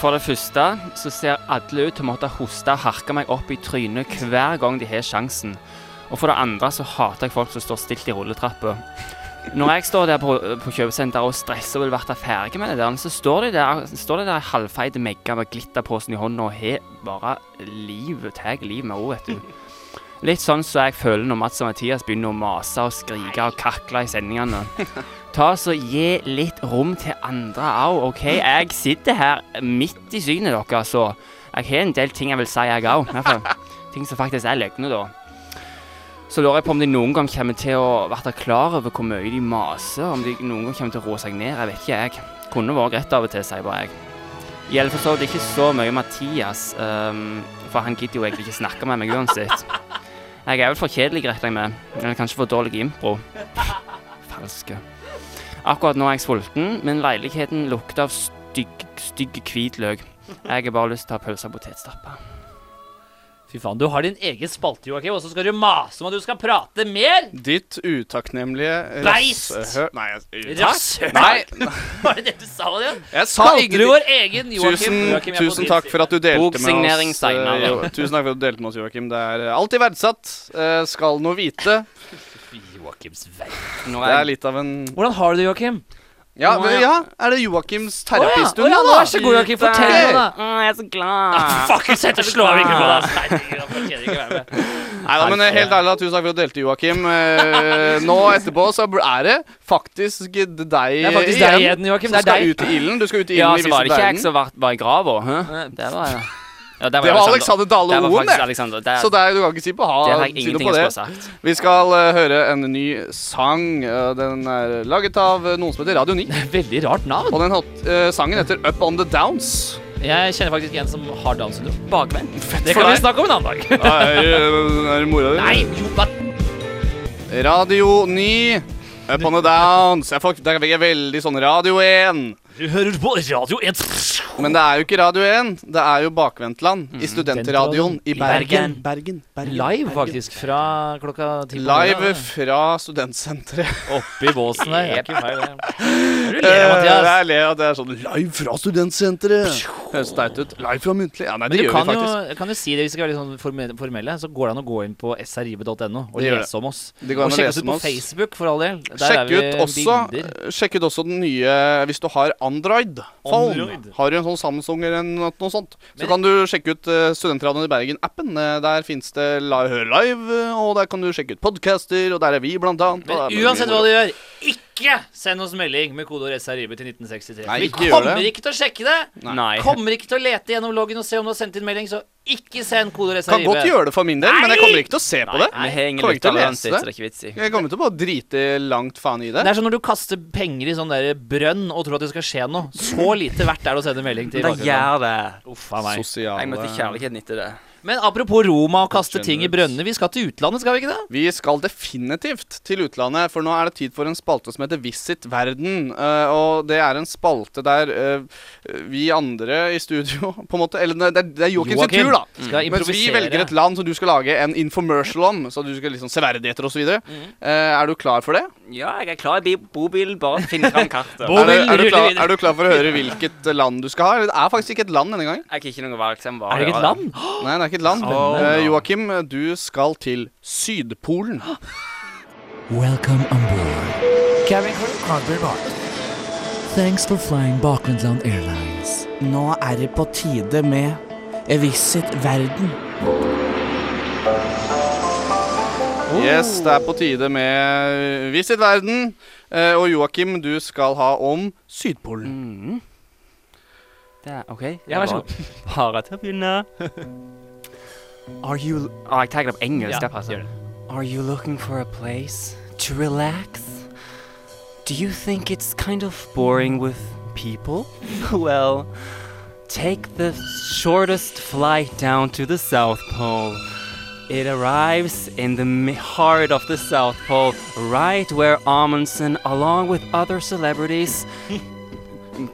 For det første så ser alle ut til å måtte hoste og harke meg opp i trynet hver gang de har sjansen. Og for det andre så hater jeg folk som står stilt i rulletrappa. Når jeg står der på, på kjøpesenteret og stresser og vil være ferdig med det der, så står de der, står de der halvfeite megga med glitterposen i hånda og har bare liv, tar liv med henne, vet du. Litt sånn som så jeg føler når Mats og Mathias begynner å mase og skrike og kakle i sendingene. Ta så Gi litt rom til andre òg, OK? Jeg sitter her midt i synet deres, så jeg har en del ting jeg vil si, jeg òg. Ting som faktisk er løgne, da. Så lurer jeg på om de noen gang kommer til å være klar over hvor mye de maser, om de noen gang kommer til å roe seg ned. Jeg vet ikke, jeg. Kunne vært rett av og til, sier bare jeg. Gjelder for så vidt ikke så mye Mathias, ehm, for han gidder jo egentlig ikke snakke med meg uansett. Jeg er vel for kjedelig, regner jeg med. Eller kanskje for dårlig i impro. Falske. Akkurat nå er jeg sulten, men leiligheten lukter av stygg, stygg hvit løk. Jeg har bare lyst til å ha pølse og potetstappe. Fy faen, du har din egen spalte, Joakim, og så skal du mase om at du skal prate mer! ditt utakknemlige Beist! rasshø- Nei, jeg, Rasshøl! nei, Var det det du sa? Det? jeg sa Kalte du ingenting. vår egen Joakim? Tusen, Joakim, jeg er på tusen din takk side. for at du delte med Boksignering oss. seinere. eh, jo, tusen takk for at du delte med oss, Joakim. Det er eh, alltid verdsatt. Eh, Skal nå vite. Joakims vei. Nå Det er er jeg litt av en Hvordan har du det, Joakim? Ja, Nå er men, jeg- ja. er det Joakims Å terapistund ja, nå, nå vær så god, Joakim. Fortell Fy nå, da. Å, jeg er så glad. Fuck, jeg setter slå av Ah. mikrofonen. Nei, Nei da, men eh, helt ærlig, da, tusen takk for at du delte, Joakim. Eh, nå etterpå så er det faktisk deg Det Eh, er faktisk deg igjen, Joakim. som Det er skal deg. ut i ilden. Du skal ut i ilden Ja, i så var Visit det ikke jeg Verden. som var, var i grava. hæ? Det Eh, var jeg. Ja, der Det var Alexander. Alexander Dale Der var Oen, faktisk det. Alexander. Der, Så der, du kan ikke si på der ha har jeg si noe ingenting på altså. jeg det. skulle ha sagt. Vi skal eh, høre en ny sang. Eh, den er laget av eh, noen som heter Radio 9. Veldig rart navn. Og den hat- eh, sangen heter Up On The Downs. Jeg kjenner faktisk en som har Downs syndrom. Bakvenn. Det for kan vi deg. snakke om en annen dag. Er, er det mora di? Nei, jo, hva? Radio 9. Up on the downs. Jeg får, der fikk jeg veldig sånn Radio 1. Du hører på Radio 1. Men det er jo ikke Radio 1. Det er jo Bakvendtland. I studentradioen i Bergen. Bergen. Live, faktisk, fra klokka ti. på Live morgenen. fra studentsenteret. Oppi båsen der. Det er ikke meg, det. Du Det ler, Mathias. er, le- det er sånn Live fra studentsenteret. Høres teit ut. Live fra muntlig. Ja, nei, Men det du gjør kan vi jo, faktisk. kan jo si det, hvis vi skal være litt sånn forme- formelle, så går det an å gå inn på srib.no og Det gjør det. lese om oss. Det går Og an å sjekke oss lese ut med på oss. Facebook, for all del. Der er Sjekk vi ut, også, bilder. sjekk ut også den nye hvis du har Android. Phone. Android. Har du en sånn Samsung eller en- noe sånt, så Men- kan du sjekke ut eh, Studentradioen i Bergen-appen. Eh, Der fins det Li- Hør Live, eh, og der kan du sjekke ut podcaster, og der er vi, blant annet. og Men der er uansett mye hva moro. du gjør, ikke send oss melding med kodeord SRIB til 1963. Nei, Vi ikke gjør det. kommer ikke til å sjekke det. Nei. Kommer ikke til å lete gjennom loggen og se om du har sendt inn melding, så ikke send kodeord Kan SRIB. godt gjøre det for min del, men jeg kommer ikke til å se på det. Vi har ingen Kommer ikke til å lytterleverans, lese så det. det er ikke vits i. Jeg kommer til å bare drite langt faen i Det det. er som når du kaster penger i sånn der brønn og tror at det skal skje noe. Så lite verdt er det å sende melding til Da bakgrunnen. gjør det. Uff a meg. Jeg møtte Sosiale kjærligheten etter det. Men apropos Roma og kaste ting i brønnene. Vi skal til utlandet, skal vi ikke det? Vi skal definitivt til utlandet, for nå er det tid for en spalte som heter Visit verden. Eh, og det er en spalte der eh, vi andre i studio på en måte Eller nei, det er, det er Joakim sin Joakim tur, da. Mm. Mens Skal vi improvisere. velger et land som du skal lage en infomercial om, så du skal liksom severdigheter osv. videre Eh, er du klar for det? Ja, jeg er klar i bi- bobilen. Bare finn fram kartet. Er du, Bobil, er, du rulle klar, videre. er du klar for å høre hvilket land du skal ha? Eller, Det er faktisk ikke et land denne gangen. Jeg har ikke noe valg. så jeg må bare Er det ikke gjøre et land? Nei, det er ikke et land. Eh, Joakim, du skal til Sydpolen. Welcome on board. Cabin crew, Carter Thanks for flying Bakvendtland Airlines. Nå er det på tide med Visit verden. Yes, det er Oh. på tide med Visit verden. Eh, og Joakim, du skal ha om Sydpolen. Mhm. Det er OK. Ja, vær så god. Bare til å begynne. Are you Å, Ah, jeg tar det på engelsk. Ja, det passer. gjør Are you looking for a place to relax? Do you think it's kind of boring with people? well, take the shortest flight down to the South Pole. It arrives in the mi- heart of the South Pole, right where Amundsen, along with other celebrities,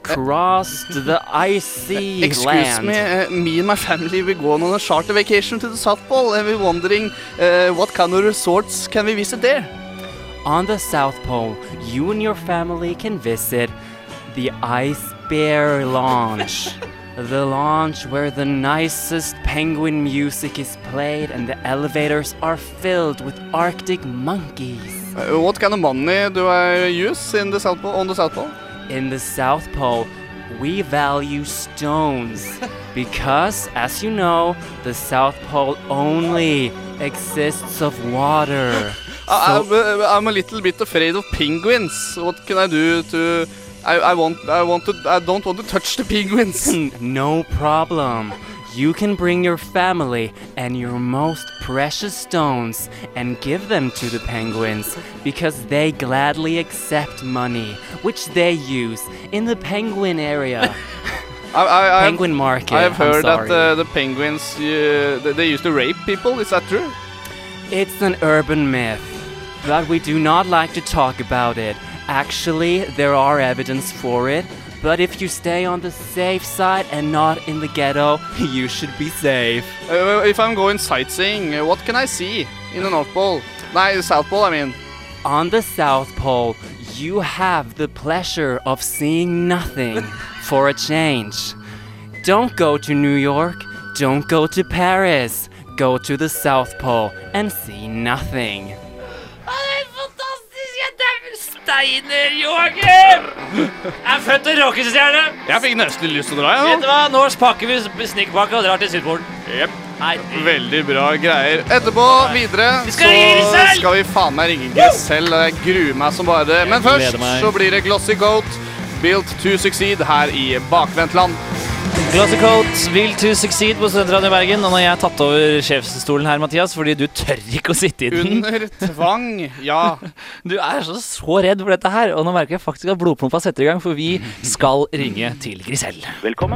crossed the icy Excuse land. me, eh, me and my family will go on a charter vacation to the South Pole and we're wondering eh, what kind of resorts can we visit there? On the South Pole, you and your family can visit the Ice Bear Lounge. the lounge where the nicest penguin music is played and the elevators are filled with Arctic monkeys. Eh, what kind of money do I use in the South Pole, on the South Pole? In the South Pole, we value stones because, as you know, the South Pole only exists of water. I, So- I'm, uh, I'm a little bit afraid of penguins. What can I do to... I, I want, I want to, I don't want to touch the penguins. no problem. You can bring your family and your most precious stones and give them to the penguins because they gladly accept money, which they use in the penguin area, I, I, I, penguin market. I've I'm heard that sorry. uh, the penguins, uh, they, they used to rape people. Is that true? It's an urban myth, but we do not like to talk about it. Actually, there are evidence for it, but if you stay on the safe side and not in the ghetto, you should be safe. Uh, if I'm going sightseeing, uh, what can I see in the North Pole? Nei, South Pole, I mean. On the South Pole, you have the pleasure of seeing nothing for a change. Don't go to New York, don't go to Paris. Go to the South Pole and see nothing. det er helt fantastisk! Steiner-Joakim! Er født til rockestjerne. Jeg fikk nesten lyst til å dra, jeg Vet nå. du hva? Nå pakker vi snikkpakka og drar til Sydpolen. Nei, Veldig bra greier. Etterpå, videre, skal ringe så Grisel! skal vi faen meg ringe Grisel. og Jeg gruer meg som bare det. Men først så blir det Glossy Goat, Built to Succeed, her i Bakvendtland. Glossy Coat, Will to succeed på Studentradioen i Bergen. Og nå har jeg tatt over sjefsstolen her, Mathias, fordi du tør ikke å sitte i den. Under tvang, ja. Du er så, så redd for dette her, og nå merker jeg faktisk at blodpumpa setter i gang, for vi skal ringe til Grisel. Snakke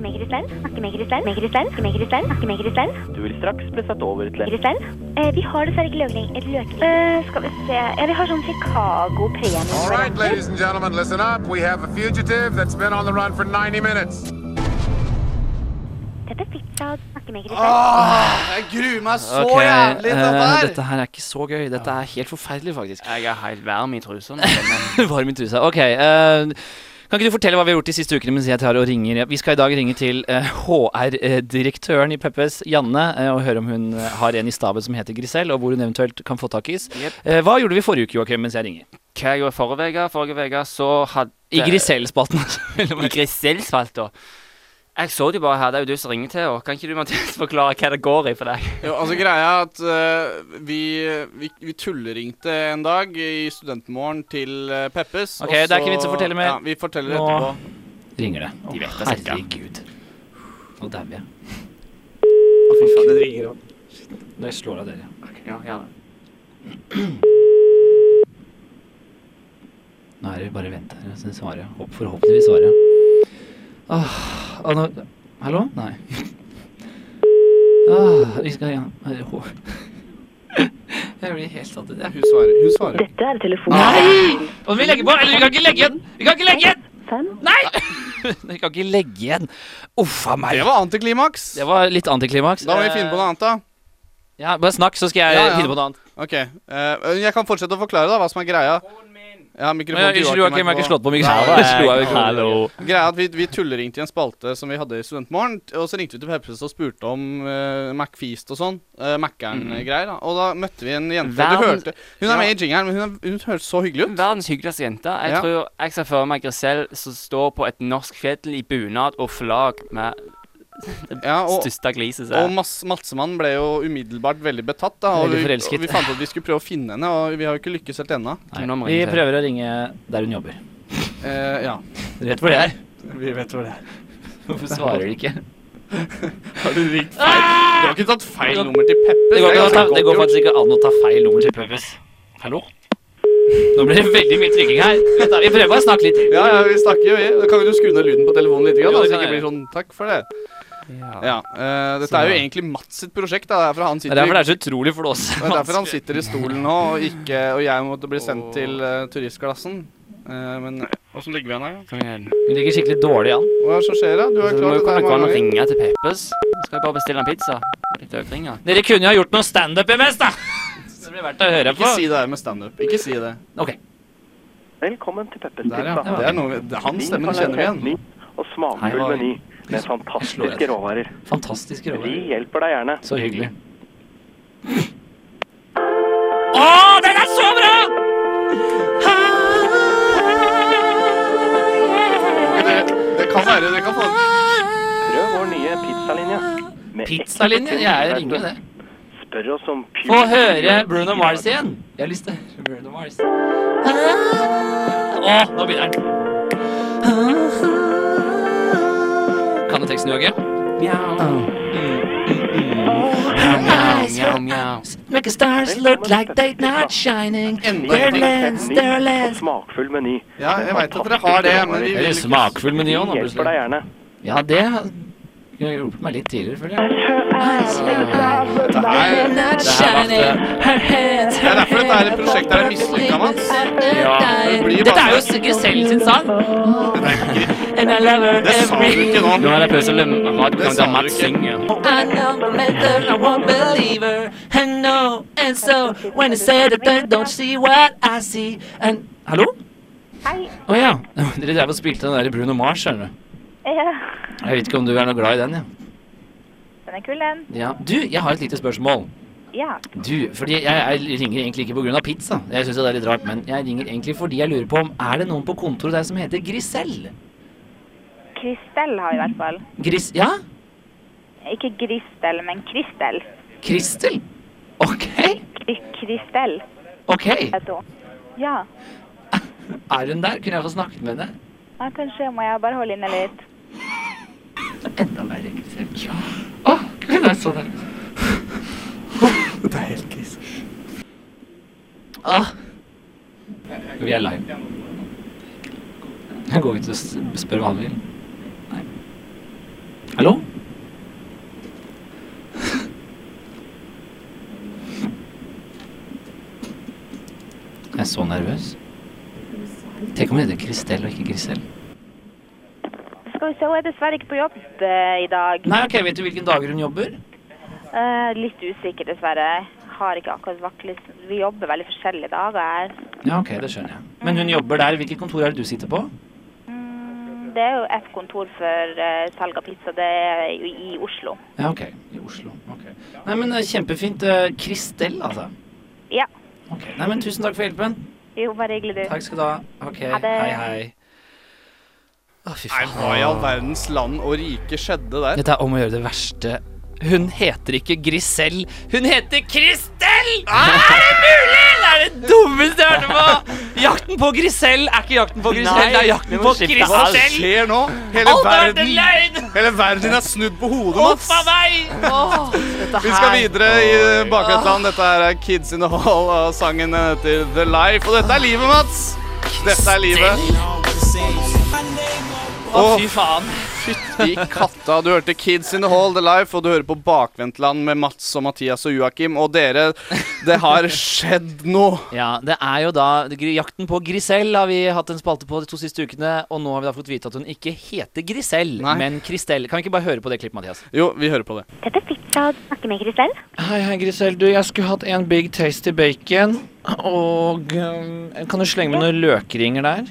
med Grisel, snakke med Grisel, med Grisel, snakke med Grisel, snakke med Grisel. Du vil straks bli satt over til Grisel. Eh, vi har dessverre ikke løkning. løkning. Eh, skal vi se Ja, vi har sånn All right, Chicago-premie. ladies and gentlemen, listen up. We have a fugitive that's been on the run for 90 minutes. Dette er pizza, snakke med Grisel. Åh, jeg gruer meg så Ok, jævlig til eh, dette her. dette her er ikke så gøy. Dette er helt forferdelig, faktisk. Jeg er helt varm i trusene. Varm i trusa. Ok. eh, kan ikke du fortelle hva vi har gjort de siste ukene mens jeg tar og ringer? Vi skal i dag ringe til eh, HR-direktøren i Peppes, Janne, eh, og høre om hun eh, har en i staben som heter Grisel, og hvor hun eventuelt kan få tak i. Jep. Eh, hva gjorde vi forrige uke, Joakim, mens jeg ringer? Hva jeg gjorde forrige uke? Forrige uke så Eh, hadde I Grisel-spalten. altså. I Griselsfalt, da. Jeg så de bare her. Det er jo du som ringer til. Og kan ikke du, Mathias, forklare hva det går i for deg? Jo, altså greia er at eh, vi, vi, vi tulleringte en dag i studentmorgen til eh, Peppes. Ok, og det er så- ikke vits å fortelle mer. Ja, vi forteller Nå- etterpå. Ringer det. De vet det Herregud. Nå dauer jeg. Fy faen, det ringer opp. Når jeg slår av dere. Ja, gjerne. Nå er det bare vent her. Så svarer jeg. Håp, forhåpentligvis svarer jeg. Åh, ah, nå Hallo? Nei. Åh, vi skal igjen. Her- hå- Jeg blir helt satt ut, jeg. Hun svarer. Hun svarer. Dette er telefon Og vi legger på! Eller vi kan ikke legge igjen! Vi kan ikke legge igjen! Nei! Vi kan ikke legge igjen. Uff a meg. Det var antiklimaks. Det var litt antiklimaks. Eh, Da må vi finne på noe annet, da. Ja, bare snakk, så skal jeg Ja, ja. finne på noe annet. OK. eh, jeg kan fortsette å forklare da, hva som er greia. Ja, mikrofonen til Unnskyld, Joakim, jeg har ikke slått på Nei, mikrofonen. Hallo. Greia er at vi, vi tulleringte i en spalte som vi hadde i Studentmorgen. Og så ringte vi til Peppes og spurte om uh, McFeast og sånn. Uh, Mm. Mækkern-greier. da. Og da møtte vi en jente du Verden- hørte, Hun er med i jingeren, men hun, er, hun hørtes så hyggelig ut. Verdens hyggeligste jente. Jeg Ja. tror jeg ser for meg Grisel som står på et norsk fjell i bunad og flagg med Ja, og, største gliset. og Mads Madsemann ble jo umiddelbart veldig betatt. da og Veldig vi, forelsket. og vi fant ut at vi skulle prøve å finne henne, og vi har jo ikke lykkes helt ennå. Nå må Nei, Vi jeg prøver å ringe der hun jobber. Eh, ja. Rett hvor det er. Vi vet hvor det er. Hvorfor svarer de ikke? Har du ringt feil? Du har ikke tatt feil nummer til Peppes. Det går, ikke an å ta, ganske det går godt faktisk ikke an å ta feil nummer til Purpose. Hallo? Nå blir det veldig mye trykking her. Vent da, Vi prøver bare å snakke litt. Ja, ja, vi snakker jo i. Da kan ikke du skru ned lyden på telefonen litt, grann, Jo, da, hvis det sånn ikke er blir sånn Takk for det. Ja, eh, Dette er jo egentlig Mats sitt prosjekt. Da. Det er Derfor han Det sitter er derfor i- det er så utrolig flåsete. det er derfor han sitter i stolen nå, og, ikke, og jeg måtte bli sendt til eh, turistklassen. Eh, men Åssen ligger vi an her? da? Kom igjen. Hun ligger skikkelig dårlig an. Hva er det som skjer, da? Du har Så jo det må klart dette jo kunne her gå an å mange ganger. ringe til Peppes. Skal jeg bare bestille en pizza? Og Litt øvringer. Dere kunne jo ha gjort noe standup imens, da! Så det blir verdt å høre på. Ikke si det der med standup. Ikke si det. Ok. Velkommen til Peppers Der, ja. Det er noe, det, hans stemme kjenner vi igjen. og Hei, hva- meny med slår jeg. fantastiske råvarer. Fantastisk råd. hjelper deg gjerne. Så hyggelig. Det, det kan være det kan få. Prøv vår nye pizzalinje. Pizzalinje? Jeg ringer det. Spør oss om Få høre Bruno Mars igjen. Jeg har lyst til å høre Bruno Mars. Å, nå begynner den. Kan du teksten, Joakim? Mm, Mjau, mjau. Make the stars look like they're not shining. Their lands, their lands. Smakfull meny. Ja, jeg veit at dere har det, men vi vil ikke smakfull meny òg, da, Hjelper deg gjerne. Ja, det kunne jeg hjulpet meg litt tidligere, føler jeg. Dette er- det er eh, det er derfor dette her prosjektet er mislykka, Mats. Det blir Dette er bare- jo Grisell sin sang. Det sa du ikke nå. Nå er det pause. Det Radioen sa der du Mats ikke. synger. I know I'm mental, I won't believe her. I know, and so when I say that they don't see what I see. And Hallo? Hei. Å ja. Dere drev og spilte den der Bruno Mars, skjønner du. Eh, Jeg vet ikke om du er noe glad i den, ja. Den er kul, den. ja. Du, jeg har et lite spørsmål. Yeah. Du, fordi jeg, jeg ringer egentlig ikke pga. pizza. Jeg syns det er litt rart, men jeg ringer egentlig fordi jeg lurer på om Er det noen på kontoret der som heter Grisell? Kristel har i hvert fall. Gris... Ja? Ikke Gristel, men Kristel. Kristel? OK. Kri- Kristel ok. heter hun. Ja. Er hun der? Kunne jeg få snakket med henne? ja, kanskje må jeg bare holde inne litt. Enda verre, Kristel. Ja. Å, hun er så der. Det er helt krise. Åh. Vi er live. Jeg går ut og s- spør hva han vil. Nei. Hallo? Jeg er så nervøs. Tenk om hun heter Kristel og ikke Grisel. Skal vi se, hun er dessverre ikke på jobb eh, i dag. Nei, ok, Vet du hvilken dager hun jobber? Eh, litt usikker, dessverre. Har ikke akkurat vaklet. Vi jobber veldig forskjellige dager her. Ja, ok, det skjønner jeg. Men hun jobber der. Hvilket kontor er det du sitter på? Mm, Det er jo ett kontor for eh, salg av pizza. Det er jo i Oslo. Ja, ok. I Oslo. Ok. Nei, men eh, kjempefint. eh, Kristel, altså. Ja. Ok. Nei, men tusen takk for hjelpen. Jo, bare hyggelig, du. Takk skal du ha. Ok. Ha det. Hei, hei. Å, fy Nei, faen. hva i all verdens land og rike skjedde der? Dette er om å gjøre det verste. Hun heter ikke Grisel. Hun heter Kristel! er det mulig?! Det er det dummeste jeg har hørt på! Jakten på Grisel er ikke jakten på Grisel, Nei, det er jakten vi må på skifte Hva alt. Kristel! skjer nå? Hele Alt har vært en verden, løgn! hele verden er snudd på hodet, Huff a Mats. meg! Åh, dette Vi skal videre i eh, bakgateland. Dette her er Kids in the Hall, og sangen heter The Life. Og dette er livet, Mats. Dette er livet. Å, Å, fy faen. fytti katta. Du hørte Kids in the Hall, The Life, og du hører på Bakvendtland med Mats og Mathias og Joakim. Og dere, det har skjedd noe. Ja, det er jo da gri- Jakten på Grisel har vi hatt en spalte på de to siste ukene, og nå har vi da fått vite at hun ikke heter Grisel, Nei. men Kristel. Kan vi ikke bare høre på det klippet, Mathias? Jo, vi hører på det. Dette er pizza. Du snakker med Kristel? Hei, hei, Grisel. Du, jeg skulle hatt en Big Tasty Bacon, og um, Kan du slenge med noen løkringer der?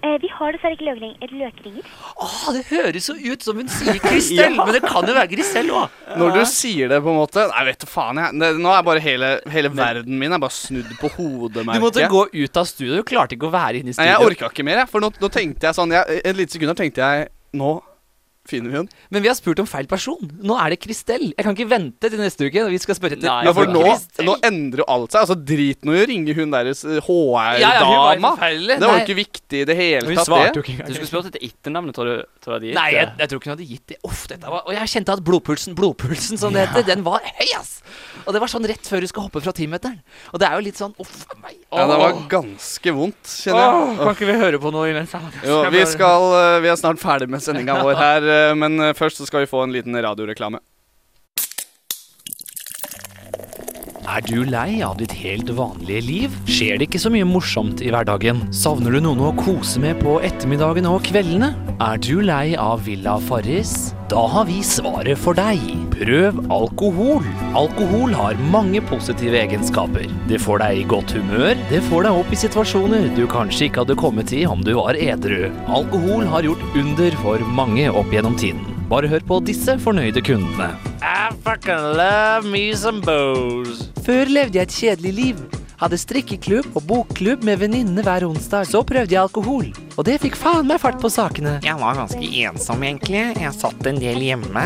Eh, vi har dessverre ikke løkring, løkringer. Åh, det høres jo ut som hun sier Kristel, men det kan jo være Grisel òg. Når du sier det, på en måte Nei, vet du faen, jeg. Det, nå er bare hele, hele verden min er bare snudd på hodet, Du måtte merker jeg. gå ut av studio, du klarte ikke å være inne i Nei, jeg studio. orka ikke mer, jeg. For nå, nå tenkte jeg sånn jeg, Et lite sekund her tenkte jeg Nå finner vi henne. Men vi har spurt om feil person. Nå er det Kristel. Jeg kan ikke vente til neste uke. når Vi skal spørre etter Nei, Ja, for det nå, var nå endrer jo alt seg. Altså, Drit nå i å ringe hun deres eh, HR-dama. forferdelig. Det var Nei. jo ikke viktig i det hele tatt, det. ikke Du skulle spurt etter etternavnet, tror du, tror du de Nei, jeg, jeg tror ikke hun hadde gitt det. Uff, dette var, og jeg kjente at blodpulsen, blodpulsen som det heter, den var høy, ass! Og det var sånn rett før du skal hoppe fra timeteren. Og det er jo litt sånn uff a meg. Ja, det var Åh. ganske vondt, kjenner jeg. Kan ikke vi høre på noe imens? Jo, vi, skal, eh, vi er snart ferdig med sendinga vår her, eh, men eh, først så skal vi få en liten radioreklame. Er du lei av ditt helt vanlige liv? Skjer det ikke så mye morsomt i hverdagen? Savner du noen å kose med på ettermiddagen og kveldene? Er du lei av Villa Farris? Da har vi svaret for deg. Prøv alkohol. Alkohol har mange positive egenskaper. Det får deg i godt humør, det får deg opp i situasjoner du kanskje ikke hadde kommet i om du var edru. Alkohol har gjort under for mange opp gjennom tiden. Bare hør på disse fornøyde kundene. I fucking love me some booze. Før levde jeg et kjedelig liv. Hadde strikkeklubb og bokklubb med venninnene hver onsdag. Så prøvde jeg alkohol, og det fikk faen meg fart på sakene. Jeg var ganske ensom, egentlig. Jeg satt en del hjemme.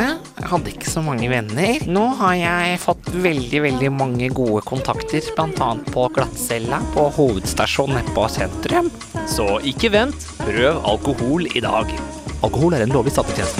Hadde ikke så mange venner. Nå har jeg fått veldig, veldig mange gode kontakter, blant annet på Glattcella, på hovedstasjonen nede på sentrum. Så ikke vent, prøv alkohol i dag. Alkohol er en lovlig statlig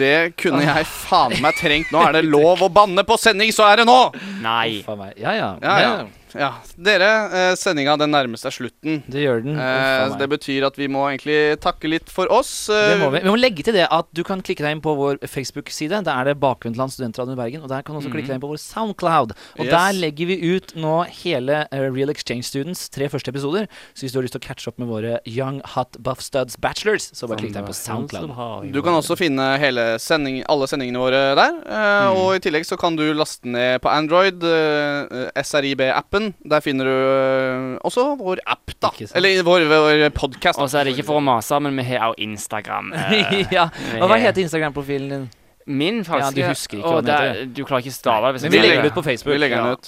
Det kunne jeg faen meg trengt. Nå er det lov å banne på sending, så er det nå! Nei. Ja, ja. Ja, ja. ja. Dere, eh, sendinga den nærmer seg slutten. Det gjør Mm, den. Eh, det betyr at vi må egentlig takke litt for oss. eh, Det må vi. vi må legge til det at du kan klikke deg inn på vår Facebook-side. Der er det Bakvendtland Studentradioen i Bergen. Og der kan du også klikke deg inn på vår Soundcloud. Og Mhm. Yes. der legger vi ut nå hele eh, Real Exchange Students tre første episoder. Så hvis du har lyst til å catche opp med våre Young Hot Buff Studs Bachelors, så bare klikk deg inn på Soundcloud. Du kan også finne hele sending, alle sendingene våre der. eh, Mm. Og i tillegg så kan du laste ned på Android eh, SRIB-appen. Der finner du eh, også vår app, da. Ikke sant. Eller vår, vår podkast. Og så er det ikke for å mase, men vi har også Instagram. eh, ja. Og hva heter Instagram-profilen din? Min falske Ja, du husker ikke Å, hva den det er- heter. Du klarer ikke stave det. Men vi legger det ut på Vi Facebook. legger den Ja. ut.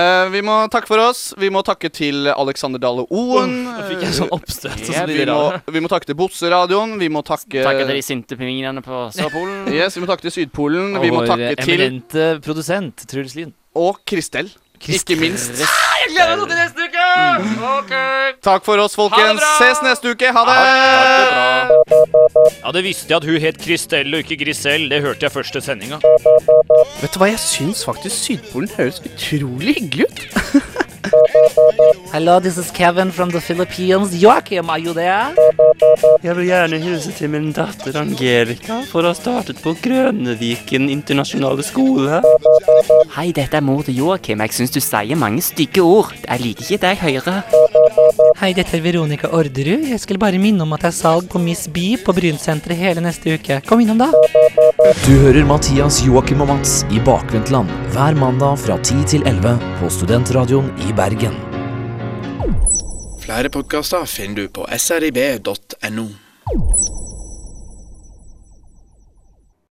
Eh, vi må takke for oss. Vi må takke til Alexander Dale Oen. Nå fikk jeg sånn oppstøt. Ja, sånn som de vi, der må, andre. vi må takke til Bosseradioen. Vi må takke Takk til de sinte pingvinene på Sørpolen. Yes, vi må takke til Sydpolen. Og Vi må vår takke til eminente produsent Truls Lien. Og Kristel. Ikke minst. Jeg gleder meg til neste uke! Takk for oss, folkens. Ses neste uke. Ha det! Ja, det visste jeg at hun het Kristel og ikke Grisel. Det hørte jeg første sendinga. Vet du hva, jeg syns faktisk Sydpolen høres utrolig hyggelig ut. Hello, this is Kevin from the Philippines. Joachim, are you there? Jeg vil gjerne hilse til min datter Angelica for å ha startet på Grønneviken internasjonale skole. Hei, dette er mor til Joakim. Jeg syns du sier mange stygge ord. Jeg liker ikke det jeg hører. Hei, dette er Veronica Orderud. Jeg skulle bare minne om at det er salg på Miss Bee på Brynsenteret hele neste uke. Kom innom, da. Du hører Mathias, Joakim og Mats i Bakvendtland hver mandag fra 10 til 11 på Studentradioen i Bergen. Flere podkaster finner du på srib.no.